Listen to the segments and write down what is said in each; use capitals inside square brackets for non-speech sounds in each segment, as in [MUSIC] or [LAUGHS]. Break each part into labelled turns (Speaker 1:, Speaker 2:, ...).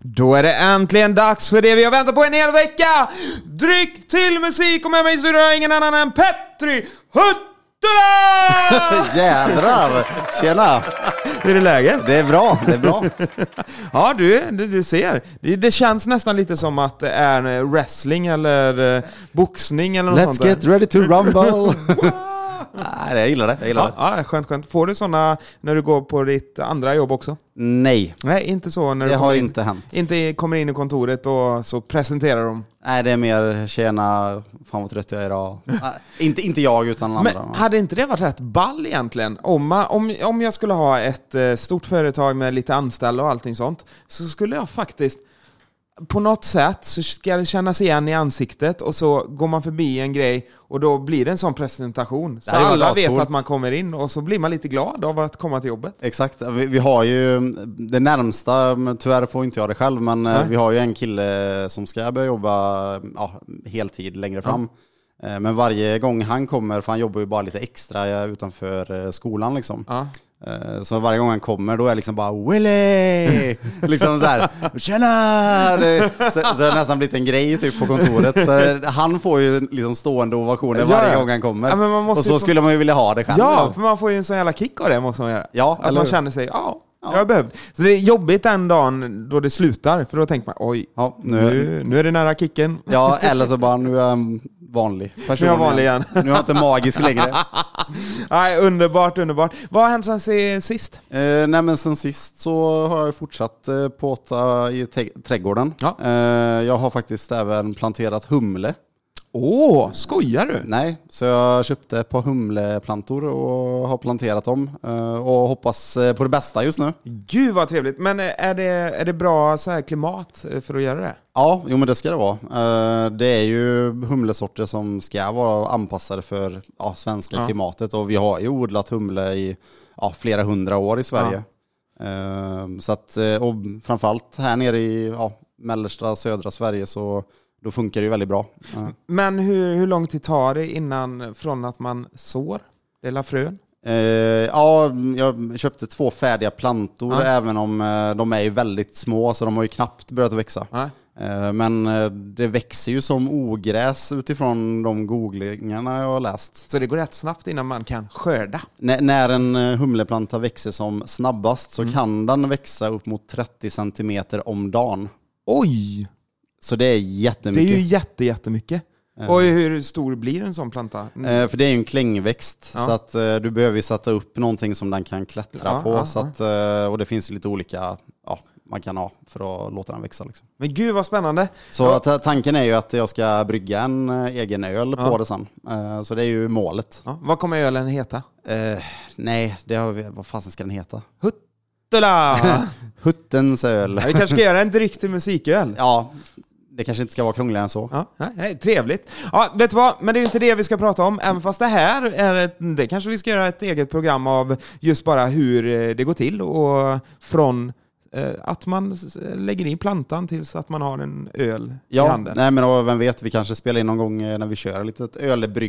Speaker 1: Då är det äntligen dags för det vi har väntat på en hel vecka! Dryck till musik och med mig i studion har jag ingen annan än Petri
Speaker 2: [LAUGHS]
Speaker 1: Huttula!
Speaker 2: Jädrar! Tjena!
Speaker 1: Hur är läget?
Speaker 2: Det är bra, det är bra.
Speaker 1: Ja du, det, du ser. Det, det känns nästan lite som att det är wrestling eller eh, boxning eller något sånt
Speaker 2: Let's
Speaker 1: där.
Speaker 2: get ready to rumble! Nej, jag gillar det. Jag gillar
Speaker 1: Ja,
Speaker 2: det.
Speaker 1: ja, skönt, skönt. Får du sådana när du går på ditt andra jobb också?
Speaker 2: Nej,
Speaker 1: Nej, inte så när du
Speaker 2: det
Speaker 1: kommer
Speaker 2: har
Speaker 1: in.
Speaker 2: inte hänt.
Speaker 1: Inte kommer in i kontoret och så presenterar de.
Speaker 2: Nej, det är mer tjena, fan vad trött jag är idag. Nej, inte, inte jag, utan
Speaker 1: Men
Speaker 2: andra.
Speaker 1: hade inte det varit rätt ball egentligen? Om, man, om, om jag skulle ha ett eh, stort företag med lite anställda och allting sånt, så skulle jag faktiskt på något sätt så ska det kännas igen i ansiktet och så går man förbi en grej och då blir det en sån presentation. Så
Speaker 2: Det hade varit
Speaker 1: alla vet
Speaker 2: ascoolt.
Speaker 1: att man kommer in och så blir man lite glad av att komma till jobbet.
Speaker 2: Exakt, vi, vi har ju det närmsta, men tyvärr får inte jag det själv, men eh,
Speaker 1: Nej.
Speaker 2: vi har ju en kille som ska börja jobba ja, heltid längre fram. Eh, Men varje gång han kommer, för han jobbar ju bara lite extra eh, utanför eh, skolan liksom.
Speaker 1: Ja.
Speaker 2: Eh, Så varje gång han kommer då är jag liksom bara Willy! [LAUGHS] liksom så här, tjena! Det- Så, så det har nästan blivit en grej typ på kontoret. Så han får ju liksom stående ovationer
Speaker 1: Ja,
Speaker 2: varje
Speaker 1: ja.
Speaker 2: gång han kommer.
Speaker 1: Ja, men man måste
Speaker 2: och så
Speaker 1: ju få-
Speaker 2: skulle man ju vilja ha det själv.
Speaker 1: Ja,
Speaker 2: liksom.
Speaker 1: för man får ju en sån jävla kick av det måste man göra.
Speaker 2: Ja,
Speaker 1: att
Speaker 2: eller
Speaker 1: man
Speaker 2: hur?
Speaker 1: känner sig, ja, jag är behövd. Så det är jobbigt den dagen då det slutar, för då tänker man, oj,
Speaker 2: ja, nu,
Speaker 1: nu, nu är det nära kicken.
Speaker 2: ja, eller så bara nu är jag en vanlig
Speaker 1: Nu
Speaker 2: person.
Speaker 1: är jag vanlig
Speaker 2: Nu är jag inte magisk längre.
Speaker 1: Nej, underbart, underbart. Vad har hänt sen se- sist?
Speaker 2: Eh, nej men sen sist så har jag ju fortsatt eh, påta i te- trädgården.
Speaker 1: Ja.
Speaker 2: Eh, jag har faktiskt även planterat humle.
Speaker 1: Åh, skojar du?
Speaker 2: Nej, så jag köpte ett par humleplantor och har planterat dem eh, och hoppas eh, på det bästa just nu.
Speaker 1: Gud vad trevligt. Men eh, är det, är det bra så här klimat eh, för att göra det?
Speaker 2: Ja, jo men det ska det vara. Eh, Det är ju humlesorter som ska vara anpassade för ja, svenska
Speaker 1: Ja.
Speaker 2: klimatet och vi har ju odlat humle i ja, flera hundra år i Sverige. Eh, Så att, eh, och framförallt här nere i ja, mellersta södra Sverige så då funkar det ju väldigt bra. Eh,
Speaker 1: Men hur, hur lång tid tar det innan från att man sår, delar frön?
Speaker 2: Eh, ja, jag köpte två färdiga plantor
Speaker 1: Ja.
Speaker 2: även om eh, de är ju väldigt små så de har ju knappt börjat växa.
Speaker 1: Nej.
Speaker 2: Eh, men eh, det växer ju som ogräs utifrån de googlingarna jag har läst.
Speaker 1: Så det går rätt snabbt innan man kan skörda.
Speaker 2: N- när en eh, humleplanta växer som snabbast så kan den växa upp mot 30 centimeter om dagen.
Speaker 1: Oj!
Speaker 2: Så det är
Speaker 1: Det
Speaker 2: jättemycket.
Speaker 1: är ju jätte, jättemycket. Och hur stor blir en sån planta? Mm.
Speaker 2: Eh, För det är ju en klängväxt,
Speaker 1: Ja.
Speaker 2: så att eh, du behöver ju sätta upp någonting som den kan klättra
Speaker 1: Ja,
Speaker 2: på.
Speaker 1: ja,
Speaker 2: så
Speaker 1: ja.
Speaker 2: att, eh, och det finns ju lite olika ja, man kan ha för att låta den växa. Liksom.
Speaker 1: Men gud vad spännande!
Speaker 2: Så
Speaker 1: Ja.
Speaker 2: ta- tanken är ju att jag ska brygga en eh, egen öl
Speaker 1: Ja.
Speaker 2: på det sen. Eh, Så det är ju målet.
Speaker 1: Ja, vad kommer ölen heta?
Speaker 2: Eh, Nej, det har vi, vad fasen ska den heta?
Speaker 1: Huttula!
Speaker 2: Huttens öl.
Speaker 1: [LAUGHS] Ja, vi kanske ska göra en dryck till musiköl?
Speaker 2: Ja, det kanske inte ska vara krångligare än så.
Speaker 1: Ja, nej, nej, trevligt. Ja, vet du vad? Men det är ju inte det vi ska prata om, även fast det här är ett, det kanske vi ska göra ett eget program av just bara hur eh, det går till och från eh, att man s- lägger in plantan tills att man har en öl i
Speaker 2: Ja,
Speaker 1: handen.
Speaker 2: nej men då, vem vet, vi kanske spelar in någon gång eh, när vi kör ett litet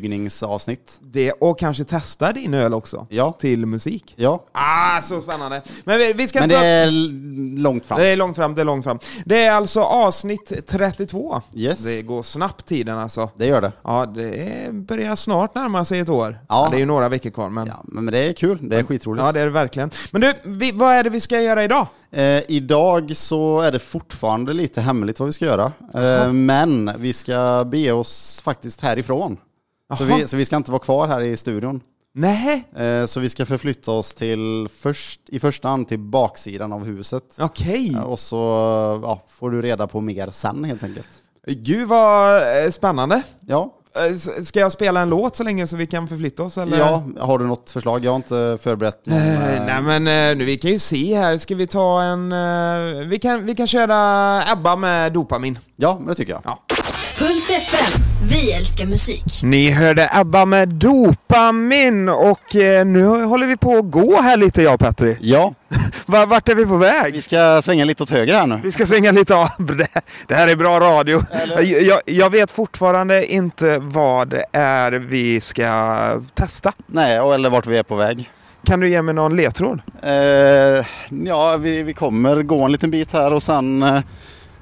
Speaker 2: ölbryggningsavsnitt.
Speaker 1: Det, och kanske testa din öl också
Speaker 2: Ja,
Speaker 1: till musik.
Speaker 2: ja.
Speaker 1: Ah, så spännande! Men vi, vi ska
Speaker 2: Men det
Speaker 1: prata-
Speaker 2: är l- långt fram.
Speaker 1: Det är långt fram, det är långt fram. Det är alltså avsnitt 32.
Speaker 2: Yes.
Speaker 1: Det går snabbt tiden alltså.
Speaker 2: Det gör det.
Speaker 1: Ja, det börjar snart närma sig ett år. Ja.
Speaker 2: Ja.
Speaker 1: det är ju några veckor kvar, men...
Speaker 2: Ja, men det är kul. Det är skitroligt.
Speaker 1: Ja, det är det verkligen. Men du, vi, vad är det vi ska göra idag?
Speaker 2: Eh, idag så är det fortfarande lite hemligt vad vi ska göra. Eh, men vi ska be oss faktiskt härifrån. Så
Speaker 1: Jaha.
Speaker 2: vi, så vi ska inte vara kvar här i studion.
Speaker 1: Nej,
Speaker 2: Eh, så vi ska förflytta oss till först, i första hand till baksidan av huset.
Speaker 1: okej.
Speaker 2: Eh, Och så ja, får du reda på mer sen helt enkelt.
Speaker 1: Gud vad eh, spännande.
Speaker 2: Ja.
Speaker 1: Eh, s- Ska jag spela en låt så länge så vi kan förflytta oss eller?
Speaker 2: ja, har du något förslag? Jag har inte förberett någon.
Speaker 1: Eh,
Speaker 2: Eh,
Speaker 1: Nej men eh, nu, vi kan ju se här, ska vi ta en... eh, Vi kan, vi kan köra ABBA med Dopamin.
Speaker 2: ja, men det tycker jag.
Speaker 1: Ja.
Speaker 3: Puls FM. Vi älskar musik.
Speaker 1: Ni hörde ABBA med Dopamin och eh, nu håller vi på att gå här lite jag och Petri.
Speaker 2: Ja,
Speaker 1: Va- Vart är vi på väg?
Speaker 2: vi ska svänga lite åt höger här nu.
Speaker 1: Vi ska svänga lite av. [LAUGHS] Det- Det här är bra radio. Jag, jag vet fortfarande inte vad det är vi ska testa.
Speaker 2: Nej, och- eller vart vi är på väg.
Speaker 1: Kan du ge mig någon ledtråd?
Speaker 2: Eh, ja, vi, vi kommer gå en liten bit här och sen eh,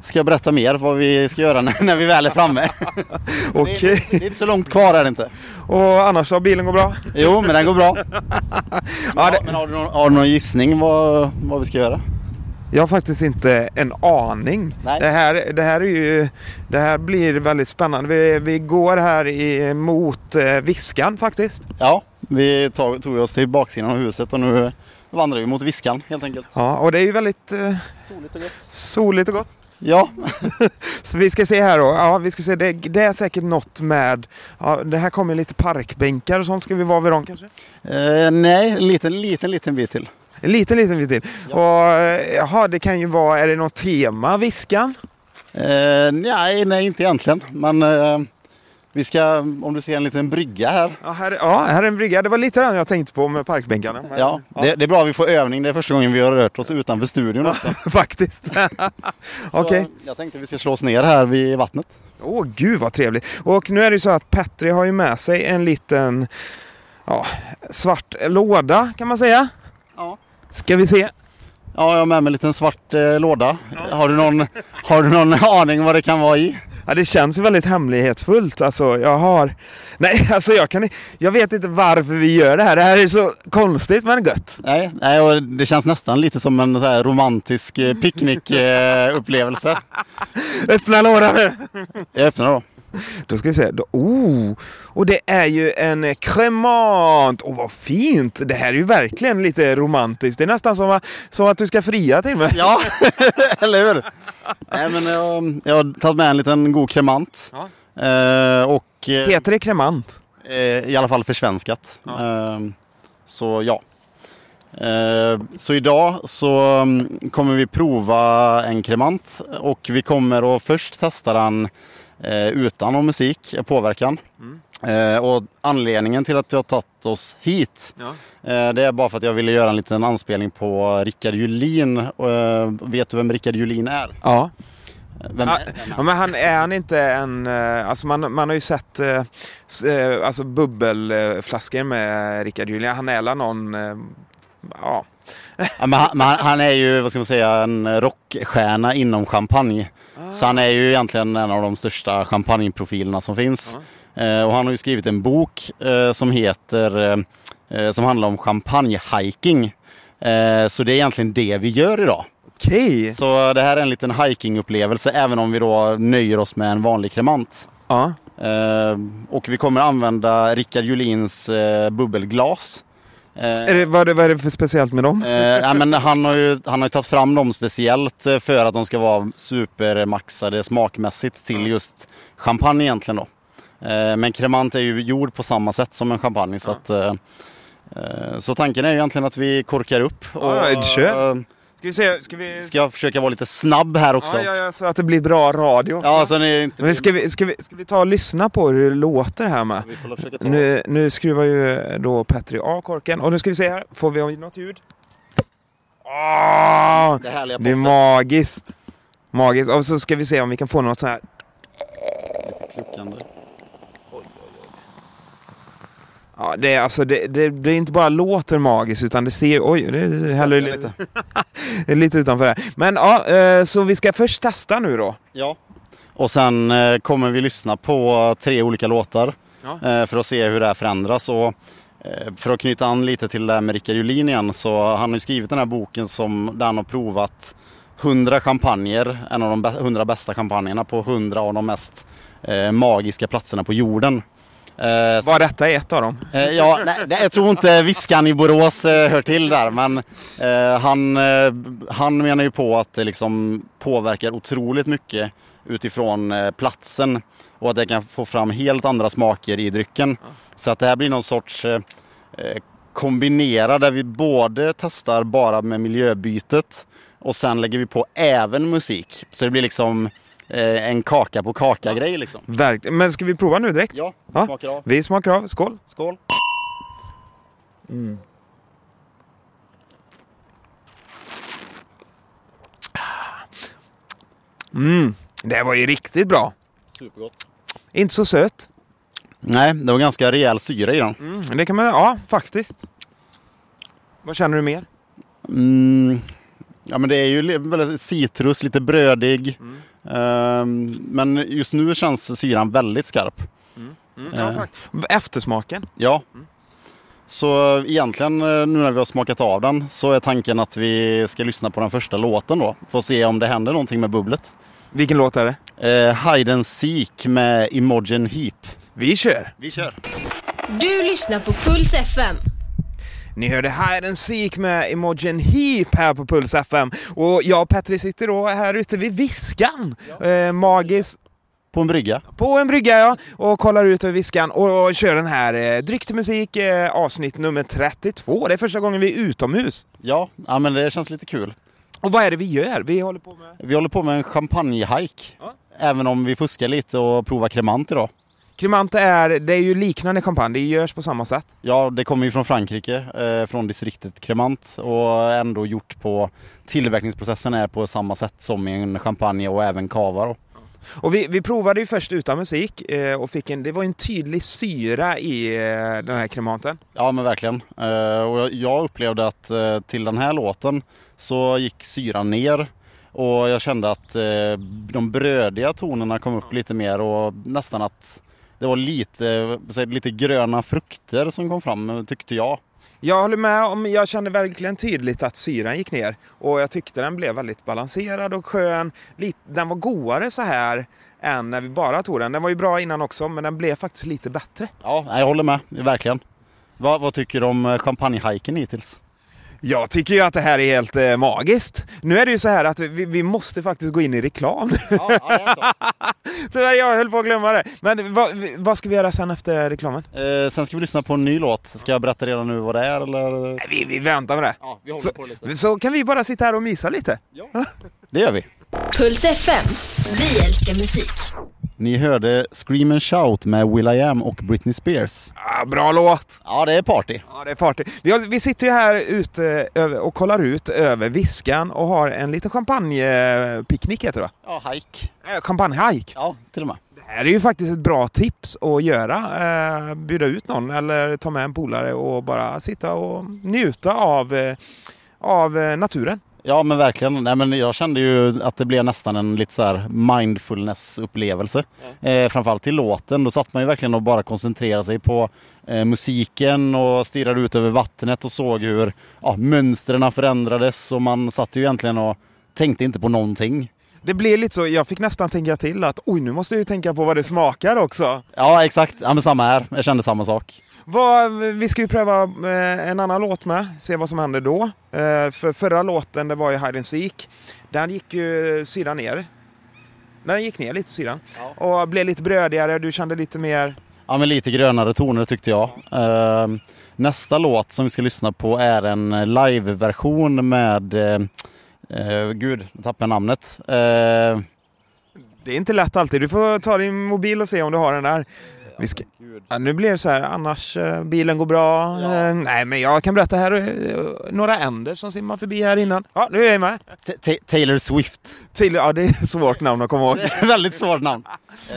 Speaker 2: ska jag berätta mer vad vi ska göra [LAUGHS] när, när vi väl
Speaker 1: [LAUGHS]
Speaker 2: är framme. Men det, är,
Speaker 1: Okej.
Speaker 2: det är inte så långt kvar är det inte.
Speaker 1: [LAUGHS] Och annars då? Bilen går bra?
Speaker 2: Jo, men den går bra.
Speaker 1: [LAUGHS] Ja, det-
Speaker 2: Men har du någon, har du någon gissning vad, vad vi ska göra?
Speaker 1: Jag har faktiskt inte en aning.
Speaker 2: Nej.
Speaker 1: Det här, det här, är ju, det här blir väldigt spännande. Vi, vi går här i, mot eh, Viskan faktiskt.
Speaker 2: Ja, vi tog, tog oss till baksidan av huset och nu vandrar vi mot Viskan helt enkelt.
Speaker 1: Ja, och det är ju väldigt eh,
Speaker 2: Soligt och gött.
Speaker 1: soligt och gott.
Speaker 2: Ja,
Speaker 1: Så vi ska se här då. Ja, vi ska se. Det, det är säkert något med... Ja, det här kommer lite parkbänkar och sånt. Ska vi vara vid dem kanske?
Speaker 2: eh, nej, en liten, liten, liten bit till.
Speaker 1: En liten, liten bit till.
Speaker 2: Ja.
Speaker 1: Och eh, jaha, det kan ju vara... Är det något tema, Viskan?
Speaker 2: Eh, nej, nej, inte egentligen. Men eh, vi ska, om du ser en liten brygga här.
Speaker 1: Ja, här, ja, här är en brygga. Det var lite den jag tänkte på med parkbänkarna.
Speaker 2: [LAUGHS]
Speaker 1: Men,
Speaker 2: Ja, det, det är bra vi får övning. Det är första gången vi har rört oss utanför studion också.
Speaker 1: Faktiskt. [LAUGHS]
Speaker 2: Så,
Speaker 1: Okej.
Speaker 2: eh, Jag tänkte vi ska slå oss ner här vid vattnet.
Speaker 1: Åh gud vad trevligt. Och nu är det ju så att Petri har ju med sig en liten ja, svart låda kan man säga.
Speaker 2: Ja.
Speaker 1: Ska vi se.
Speaker 2: Ja, jag har med mig en liten svart eh, låda. Har, du någon, har du någon [LAUGHS] aning vad det kan vara i?
Speaker 1: Ja, det känns ju väldigt hemlighetsfullt. Alltså, jag har... Nej, [LAUGHS] alltså jag kan i- Jag vet inte varför vi gör det här. Det här är så konstigt men gött.
Speaker 2: Nej, nej och det känns nästan lite som en så här romantisk eh, picknickupplevelse.
Speaker 1: Öppna lådan nu!
Speaker 2: Jag öppnar då.
Speaker 1: Då ska vi se. Då, oh, och det är ju en eh, cremant! Åh, vad fint! Det här är ju verkligen lite romantiskt. Det är nästan som, att- som att du ska fria till mig.
Speaker 2: Ja, [LAUGHS] eller hur? Nej, men jag, jag har tagit med en liten god kremant.
Speaker 1: Ja.
Speaker 2: Eh, och eh,
Speaker 1: Heter det cremant?
Speaker 2: eh, i alla fall försvenskat. Eh, så ja. Eh, så idag så mm, kommer vi prova en kremant och vi kommer att först testa den eh, utan någon musik, eh, påverkan. Eh, och anledningen till att vi har tagit oss hit Eh, Det är bara för att jag ville göra en liten anspelning på Rickard Julin. Eh, Vet du vem Rickard Julin är?
Speaker 1: Ja.
Speaker 2: Vem
Speaker 1: Ja,
Speaker 2: är den här?
Speaker 1: ja, men han, är han inte en... eh, Alltså man, man har ju sett eh, s- eh, alltså bubbelflaskor med Rickard Julia. Han är väl någon... eh, Ja.
Speaker 2: Ja, men han, men han- han är ju, vad ska man säga, en rockstjärna inom champagne. Så han är ju egentligen en av de största champagneprofilerna som finns. Eh, Och han har ju skrivit en bok eh, som heter, eh, eh, som handlar om champagnehiking. Eh, Så det är egentligen det vi gör idag.
Speaker 1: Okej.
Speaker 2: Så det här är en liten hikingupplevelse även om vi då nöjer oss med en vanlig kremant.
Speaker 1: Ja.
Speaker 2: Eh, och vi kommer använda Rickard Julins eh, bubbelglas. Eh,
Speaker 1: Är det, vad, är det, vad är det för speciellt med dem?
Speaker 2: eh, nej, men han, har ju, han har ju tagit fram dem speciellt eh, för att de ska vara supermaxade smakmässigt till just champagne egentligen då. Eh, men kremant är ju gjord på samma sätt som en champagne så att eh, eh, så tanken är ju egentligen att vi korkar upp och
Speaker 1: Ja, ett köp.
Speaker 2: eh,
Speaker 1: Ska vi se... Ska vi...
Speaker 2: ska jag försöka vara lite snabb här också.
Speaker 1: ja, ja, ja, så att det blir bra radio.
Speaker 2: Ja, så ni inte...
Speaker 1: Men ska, vi, ska, vi, ska vi ta och lyssna på hur det låter här med?
Speaker 2: Vi får väl försöka ta-
Speaker 1: Nu, nu skruvar ju då Petri av korken. Och nu ska vi se här. Får vi något ljud? Ah! Åh!
Speaker 2: Det härliga
Speaker 1: Det är magiskt. Magiskt. Och så ska vi se om vi kan få något så här.
Speaker 2: popkluckande.
Speaker 1: Ja, det, är alltså, det, det, det är inte bara låter magiskt utan det ser... Oj, det häller
Speaker 2: jag
Speaker 1: lite. [LAUGHS] det är lite utanför här. Men ja, eh, så vi ska först testa nu då.
Speaker 2: Ja. Och sen eh, kommer vi lyssna på tre olika låtar
Speaker 1: Ja.
Speaker 2: eh, för att se hur det här förändras. Och, eh, för att knyta an lite till det här med Rickard Julin igen så han har ju skrivit den här boken som, där han har provat 100 champagner, en av de bä- 100 bästa champagnerna på 100 av de mest eh, magiska platserna på jorden. Eh, så-
Speaker 1: Var detta är ett av dem?
Speaker 2: Eh, ja, nej, nej, jag tror inte Viskan i Borås eh, hör till där, men eh, han, eh, han menar ju på att det liksom påverkar otroligt mycket utifrån eh, platsen och att det kan få fram helt andra smaker i drycken. Så att det här blir någon sorts eh, eh, kombinera där vi både testar bara med miljöbytet och sen lägger vi på även musik. Så det blir liksom eh, en kaka på kaka-grej liksom.
Speaker 1: Verkligen. Men ska vi prova nu direkt?
Speaker 2: Ja, vi
Speaker 1: Ja.
Speaker 2: smakar av.
Speaker 1: Vi smakar av. Skål!
Speaker 2: Skål!
Speaker 1: Mm, det här var ju riktigt bra.
Speaker 2: Supergott.
Speaker 1: Inte så söt.
Speaker 2: Nej, det var ganska rejäl syra i den.
Speaker 1: Mm, det kan man... Ja, faktiskt. Vad känner du mer?
Speaker 2: Mm. Ja men det är ju li- väldigt citrus, lite brödig. Ehm, men just nu känns syran väldigt skarp.
Speaker 1: Mm, ja,
Speaker 2: Eh.
Speaker 1: fakt- Eftersmaken?
Speaker 2: Ja. Så egentligen eh, nu när vi har smakat av den så är tanken att vi ska lyssna på den första låten då. För att se om det händer någonting med bubblet.
Speaker 1: Vilken låt är det?
Speaker 2: Uh, Hide and Seek med Imogen Heap.
Speaker 1: Vi kör!
Speaker 2: Vi kör!
Speaker 3: Du lyssnar på Puls FM.
Speaker 1: Ni hörde Hide and Seek med Imogen Heap här på Puls FM. Och jag och Petri sitter då här ute vid Viskan. Eh, magiskt.
Speaker 2: På en brygga.
Speaker 1: På en brygga ja, och kollar ut över Viskan och, och kör den här eh, Dryck till musik eh, avsnitt nummer 32. Det är första gången vi är utomhus.
Speaker 2: Ja, ja men det känns lite kul.
Speaker 1: Och vad är det vi gör? Vi håller på med
Speaker 2: Vi håller på med en champagnehike.
Speaker 1: Ja.
Speaker 2: Även om vi fuskar lite och provar kremant idag.
Speaker 1: Cremante är, det är ju liknande champagne, det görs på samma sätt.
Speaker 2: Ja, det kommer ju från Frankrike, eh, från distriktet Cremant och ändå gjort på tillverkningsprocessen är på samma sätt som i en champagne och även cava då.
Speaker 1: Och vi, vi provade ju först utan musik eh, och fick en, det var en tydlig syra i eh, den här kremanten.
Speaker 2: Ja men verkligen. Eh, och jag- jag upplevde att eh, till den här låten så gick syran ner och jag kände att eh, de brödiga tonerna kom upp lite mer och nästan att det var lite, så här, lite gröna frukter som kom fram tyckte jag.
Speaker 1: Jag håller med om, jag kände verkligen tydligt att syran gick ner och jag tyckte den blev väldigt balanserad och skön. Lite, den var godare så här än när vi bara tog den. Den var ju bra innan också men den blev faktiskt lite bättre.
Speaker 2: Ja, nej, jag håller med, verkligen. Va, vad tycker du om champagnehiken hittills?
Speaker 1: Jag tycker ju att det här är helt eh, magiskt. Nu är det ju så här att vi, vi måste faktiskt gå in i reklam. [LAUGHS]
Speaker 2: Ja, ja, det är så.
Speaker 1: Tyvärr, jag höll på att glömma det. Men vad, vad ska vi göra sen efter reklamen?
Speaker 2: [LAUGHS] Eh, sen ska vi lyssna på en ny låt. Ska jag berätta redan nu vad det är eller?
Speaker 1: Nej, Vi, vi väntar med det.
Speaker 2: Ja, vi
Speaker 1: Så, så kan vi bara sitta här och mysa lite.
Speaker 2: Det gör vi.
Speaker 3: Puls FM. Vi älskar musik.
Speaker 2: Ni hörde Scream and Shout med will.i.am och Britney Spears.
Speaker 1: Ah, bra låt!
Speaker 2: Ja, det är party.
Speaker 1: Ja, det är party. Vi, har, vi sitter ju här ute eh, över- och kollar ut över Viskan och har en liten champagnepicknick heter det va?
Speaker 2: Ja, hike.
Speaker 1: Eh, Champagnehajk.
Speaker 2: Ja, till och med.
Speaker 1: Det här är ju faktiskt ett bra tips att göra. Eh, bjuda ut någon eller ta med en polare och bara sitta och njuta av, eh, av eh, naturen.
Speaker 2: Ja, men verkligen. Nej, men jag kände ju att det blev nästan en lite så här mindfulness-upplevelse. Eh, framförallt till låten. Då satt man ju verkligen och bara koncentrerade sig på eh, musiken och stirrade ut över vattnet och såg hur ja, mönstren förändrades och man satt ju egentligen och tänkte inte på någonting.
Speaker 1: Det blir lite så, jag fick nästan tänka till att oj, nu måste jag ju tänka på vad det smakar också.
Speaker 2: Ja, exakt. Ja, men samma här. Jag kände samma sak.
Speaker 1: Vad, vi ska ju pröva eh, en annan låt med, se vad som händer då. Eh, För förra låten, det var ju Hide and Seek. Den gick ju syran ner. Den gick ner lite syran. Och blev lite brödigare, du kände lite mer...
Speaker 2: Ja, men lite grönare toner tyckte jag. Ehm, nästa låt som vi ska lyssna på är en live-version med... eh, eh, gud, nu tappade jag namnet. Eh,
Speaker 1: Det är inte lätt alltid, du får ta din mobil och se om du har den där. Vi ska... ja, nu blir det så här, annars eh, bilen går bra.
Speaker 2: Ja.
Speaker 1: Eh, Nej, men jag kan berätta här, eh, några änder som simmar förbi här innan. Ja, nu är jag med.
Speaker 2: Ta- Ta- Taylor Swift. [LAUGHS]
Speaker 1: Till... Ja, det är svårt namn att komma ihåg.
Speaker 2: väldigt svårt namn.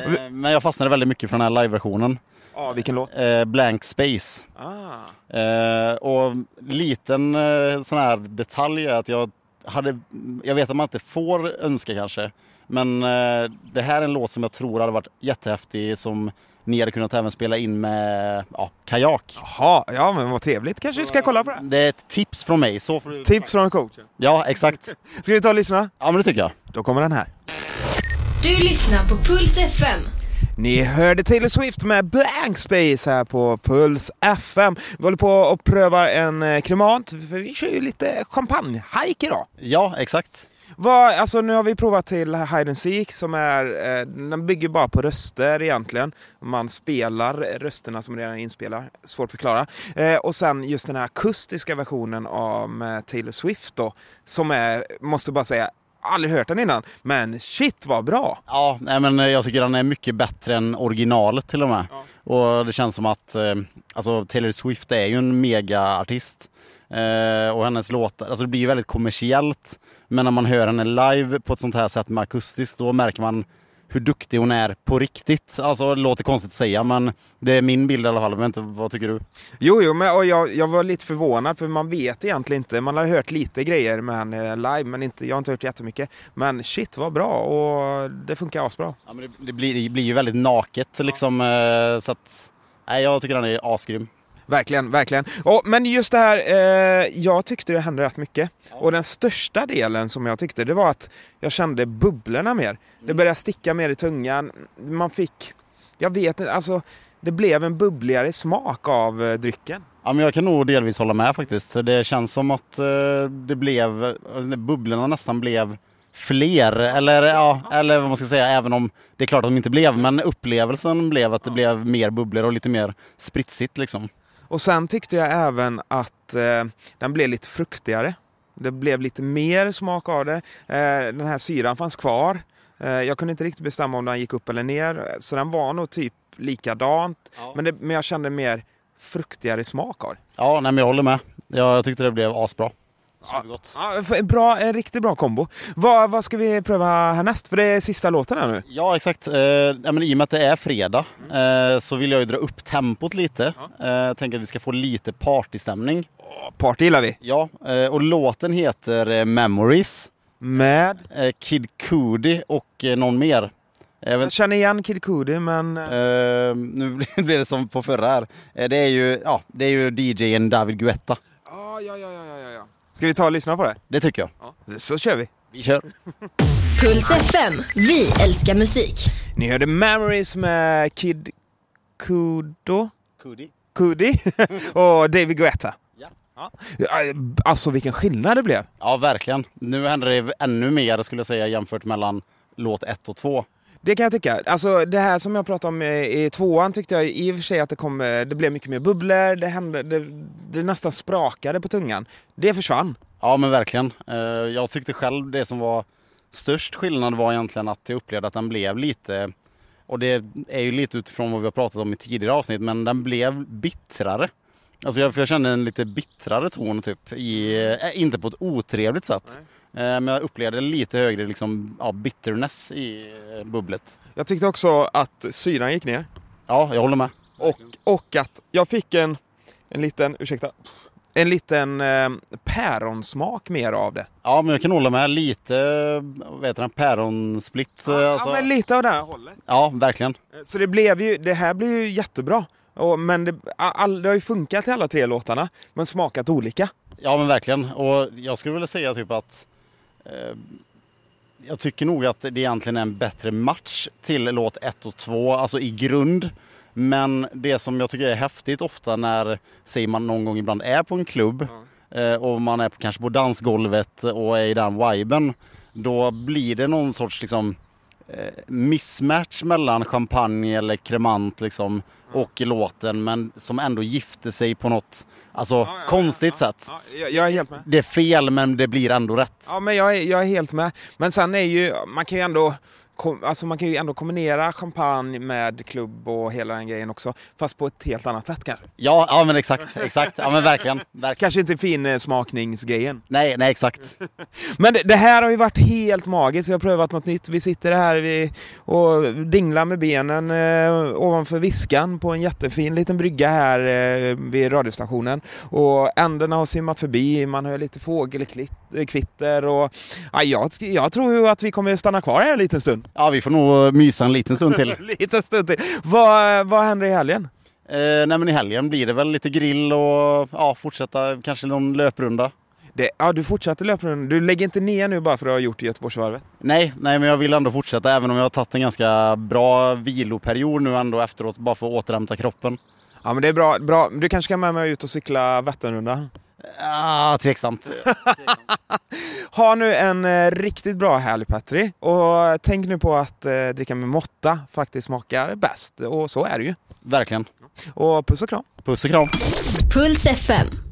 Speaker 2: Eh, men jag fastnade väldigt mycket för den här live-versionen.
Speaker 1: Ja, vilken låt.
Speaker 2: Eh, Blank Space.
Speaker 1: Ah.
Speaker 2: Eh, och liten eh, sån här detalj är att jag hade, jag vet att man inte får önska kanske, men eh, det här är en låt som jag tror hade varit jättehäftig som ni hade kunnat även spela in med ja, kajak.
Speaker 1: Jaha, ja men vad trevligt. Kanske vi ska kolla på det.
Speaker 2: Det är ett tips från mig. Så får du...
Speaker 1: Tips från coachen.
Speaker 2: Ja, exakt.
Speaker 1: Ska vi ta och lyssna?
Speaker 2: Ja, men det tycker jag.
Speaker 1: Då kommer den här.
Speaker 3: Du lyssnar på Puls FM.
Speaker 1: Ni hörde Taylor Swift med Blank Space här på Puls FM. Vi håller på att pröva en eh, kremant, för vi kör ju lite champagnehajk idag.
Speaker 2: Ja, exakt.
Speaker 1: Vad, alltså nu har vi provat till Hide and Seek som är, eh, den bygger bara på röster egentligen. Man spelar rösterna som redan är inspelar, svårt att förklara. Eh, och sen just den här akustiska versionen av med Taylor Swift då, som är, måste bara säga, aldrig hört den innan, men shit vad bra!
Speaker 2: Ja, nej, men eh, jag tycker den är mycket bättre än originalet till och med. Och det känns som att eh, alltså, Taylor Swift är ju en megaartist. Eh, och hennes låtar, alltså det blir ju väldigt kommersiellt. Men när man hör henne live på ett sånt här sätt med akustiskt, då märker man hur duktig hon är på riktigt. Alltså det låter konstigt att säga men det är min bild i alla fall. Jag vet inte, vad tycker du?
Speaker 1: Jo, jo, men och jag, jag var lite förvånad för man vet egentligen inte. Man har hört lite grejer med henne live, men inte, jag har inte hört jättemycket. Men shit vad bra och det funkar asbra.
Speaker 2: Ja, men det, det, blir, det blir ju väldigt naket liksom. eh, Så att, nej, jag tycker han är asgrym.
Speaker 1: Verkligen, verkligen. Och, men just det här, eh, jag tyckte det hände rätt mycket. Och den största delen som jag tyckte, det var att jag kände bubblorna mer. Det började sticka mer i tungan. Man fick, jag vet inte, alltså det blev en bubbligare smak av eh, drycken.
Speaker 2: Ja, men jag kan nog delvis hålla med faktiskt. Det känns som att eh, det blev, alltså, när bubblorna nästan blev fler, eller, ja, eller vad man ska säga, även om det är klart att de inte blev, men upplevelsen blev att det blev mer bubblor och lite mer spritsigt liksom.
Speaker 1: Och sen tyckte jag även att eh, den blev lite fruktigare. Det blev lite mer smak av det. Eh, den här syran fanns kvar. Eh, jag kunde inte riktigt bestämma om den gick upp eller ner. Så den var nog typ likadant. Men, det, men jag kände mer fruktigare smak av det.
Speaker 2: Ja, nej, men jag håller med. Jag, jag tyckte det blev asbra. Supergott.
Speaker 1: Ja, för- bra, en riktigt bra kombo. Vad, vad ska vi pröva härnäst? För det är sista låten här nu.
Speaker 2: Ja, exakt. Eh, ja, men I och med att det är fredag eh, så vill jag ju dra upp tempot lite. Eh, tänker att vi ska få lite partystämning.
Speaker 1: Åh, Party gillar vi.
Speaker 2: Ja, eh, och låten heter eh, Memories,
Speaker 1: Med...
Speaker 2: eh, Kid Cudi och eh, någon mer. Jag vet
Speaker 1: Jag känner igen Kid Cudi, men... eh,
Speaker 2: Eh, nu [LAUGHS] blir det som på förra här. Eh, det är ju, ja, det är ju DJn David Guetta.
Speaker 1: ah, ja, ja, ja, ja, ja. Ska vi ta och lyssna på det?
Speaker 2: Det tycker jag.
Speaker 1: Ja. Så kör vi.
Speaker 2: Vi kör.
Speaker 3: Puls FM. Vi älskar musik.
Speaker 1: Ni hörde Memories med Kid Kudo,
Speaker 2: Kudi.
Speaker 1: Kudi [LAUGHS] och David Guetta.
Speaker 2: Ja.
Speaker 1: Ja, Alltså vilken skillnad det blev.
Speaker 2: Ja, verkligen. Nu händer det ännu mer skulle jag säga jämfört mellan låt 1 och 2.
Speaker 1: Det kan jag tycka. Alltså det här som jag pratade om eh, i tvåan tyckte jag i och för sig att det, kom, eh, det blev mycket mer bubblor, det, hände, det, det nästan sprakade på tungan. Det försvann.
Speaker 2: Ja, men verkligen. Eh, jag tyckte själv det som var störst skillnad var egentligen att jag upplevde att den blev lite, och det är ju lite utifrån vad vi har pratat om i tidigare avsnitt, men den blev bittrare. Alltså jag, för jag kände en lite bittrare ton typ, i, eh, inte på ett otrevligt sätt. Eh, men jag upplevde lite högre liksom, ja, bitterness i eh, bubblet.
Speaker 1: Jag tyckte också att syran gick ner.
Speaker 2: Ja, jag håller med.
Speaker 1: Och, och att jag fick en, en liten, ursäkta, en liten eh, päronsmak mer av det.
Speaker 2: Ja, men jag kan hålla med. Lite, eh, vad heter den, päronsplitt. eh, alltså.
Speaker 1: Ja men lite av det här hållet.
Speaker 2: ja, verkligen.
Speaker 1: Eh, Så det blev ju, det här blev ju jättebra. Och, men det, all, det har ju funkat i alla tre låtarna, men smakat olika.
Speaker 2: Ja men verkligen. Och jag skulle vilja säga typ att eh, jag tycker nog att det egentligen är en bättre match till låt 1 och 2, alltså i grund. Men det som jag tycker är häftigt ofta när, säger man någon gång ibland, är på en klubb eh, och man är på, kanske på dansgolvet och är i den viben. Då blir det någon sorts liksom eh, mismatch mellan champagne eller kremant liksom och låten men som ändå gifter sig på något alltså konstigt sätt.
Speaker 1: jag, jag är helt med.
Speaker 2: Det är fel men det blir ändå rätt.
Speaker 1: Ja, men jag är, jag är helt med. Men sen är ju, man kan ju ändå kom- Alltså man kan ju ändå kombinera champagne med klubb och hela den grejen också. Fast på ett helt annat sätt kanske.
Speaker 2: Ja, ja men exakt, exakt. Ja men verkligen. verkligen.
Speaker 1: Kanske inte eh, finsmakningsgrejen.
Speaker 2: Nej, nej exakt.
Speaker 1: Men det, det här har ju varit helt magiskt. Vi har prövat något nytt. Vi sitter här vi, och dinglar med benen eh, ovanför viskan på en jättefin liten brygga här eh, vid radiostationen. Och änderna har simmat förbi. Man hör lite fågelkvitter och ja, jag, sk- jag tror ju att vi kommer stanna kvar här en liten stund.
Speaker 2: Ja vi får nog mysa en liten stund till.
Speaker 1: [LAUGHS] En liten stund till. Vad, vad händer i helgen?
Speaker 2: Eh, nej men i helgen blir det väl lite grill och ja, fortsätta kanske någon löprunda.
Speaker 1: Det, ja, du fortsätter löprundan. Du lägger inte ner nu bara för att du har gjort Göteborgsvarvet.
Speaker 2: Nej, nej men jag vill ändå fortsätta även om jag har tagit en ganska bra viloperiod nu ändå efteråt bara för att återhämta kroppen.
Speaker 1: Ja, men det är bra. bra. Du kanske kan med mig ut och cykla Vätternrundan?
Speaker 2: Ah, tveksamt.
Speaker 1: Ha nu en eh, riktigt bra helg Petri och tänk nu på att eh, dricka med måtta faktiskt smakar bäst och så är det ju.
Speaker 2: Verkligen.
Speaker 1: Och puss och kram!
Speaker 2: Puss och kram.
Speaker 3: Puls FM.